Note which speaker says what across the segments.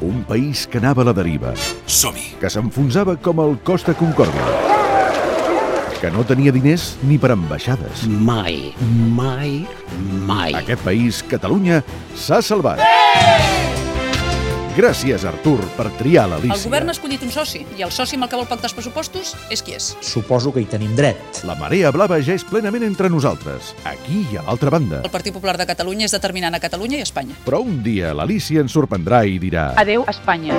Speaker 1: Un país que anava a la deriva,
Speaker 2: Som-hi.
Speaker 1: que s'enfonsava com el cos de Concòrdia, que no tenia diners ni per ambaixades.
Speaker 3: Mai, mai, mai.
Speaker 1: Aquest país, Catalunya, s'ha salvat. Gràcies, Artur, per triar
Speaker 4: El
Speaker 1: l'Alícia.
Speaker 4: govern ha escollit un soci i el soci amb el que vol pactar els pressupostos és qui és.
Speaker 5: Suposo que hi tenim dret.
Speaker 1: La marea blava ja és plenament entre nosaltres, aquí i a l'altra banda.
Speaker 4: El Partit Popular de Catalunya és determinant a Catalunya i a Espanya.
Speaker 1: Però un dia l'Alícia ens sorprendrà i dirà
Speaker 4: Adeu, Espanya.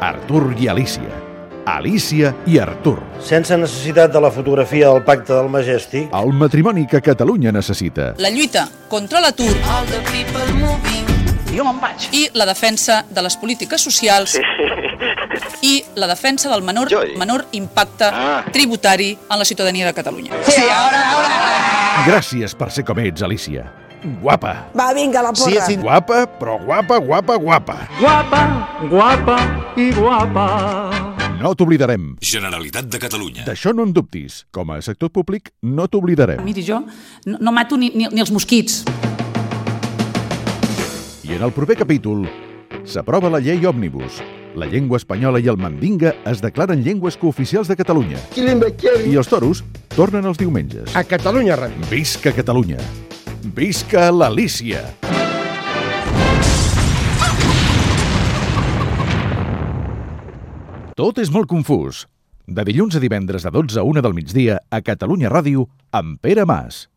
Speaker 1: Artur i Alícia. Alícia i Artur.
Speaker 6: Sense necessitat de la fotografia del pacte del Majestic,
Speaker 1: El matrimoni que Catalunya necessita.
Speaker 4: La lluita contra l'atur i la defensa de les polítiques socials i la defensa del menor, menor impacte tributari en la ciutadania de Catalunya.
Speaker 1: Gràcies per ser com ets, Alícia. Guapa.
Speaker 7: Va, vinga, la porra. Sí,
Speaker 1: Guapa, però guapa, guapa, guapa. No t'oblidarem.
Speaker 2: Generalitat de Catalunya.
Speaker 1: D'això no en dubtis. Com a sector públic, no t'oblidarem.
Speaker 4: Miri, jo no, no mato ni, ni, ni els mosquits.
Speaker 1: I en el proper capítol s'aprova la llei òmnibus. La llengua espanyola i el mandinga es declaren llengües cooficials de Catalunya. I els toros tornen els diumenges.
Speaker 8: A Catalunya Ràdio.
Speaker 1: Visca Catalunya! Visca l'Alícia! Tot és molt confús. De dilluns a divendres de 12 a 1 del migdia a Catalunya Ràdio amb Pere Mas.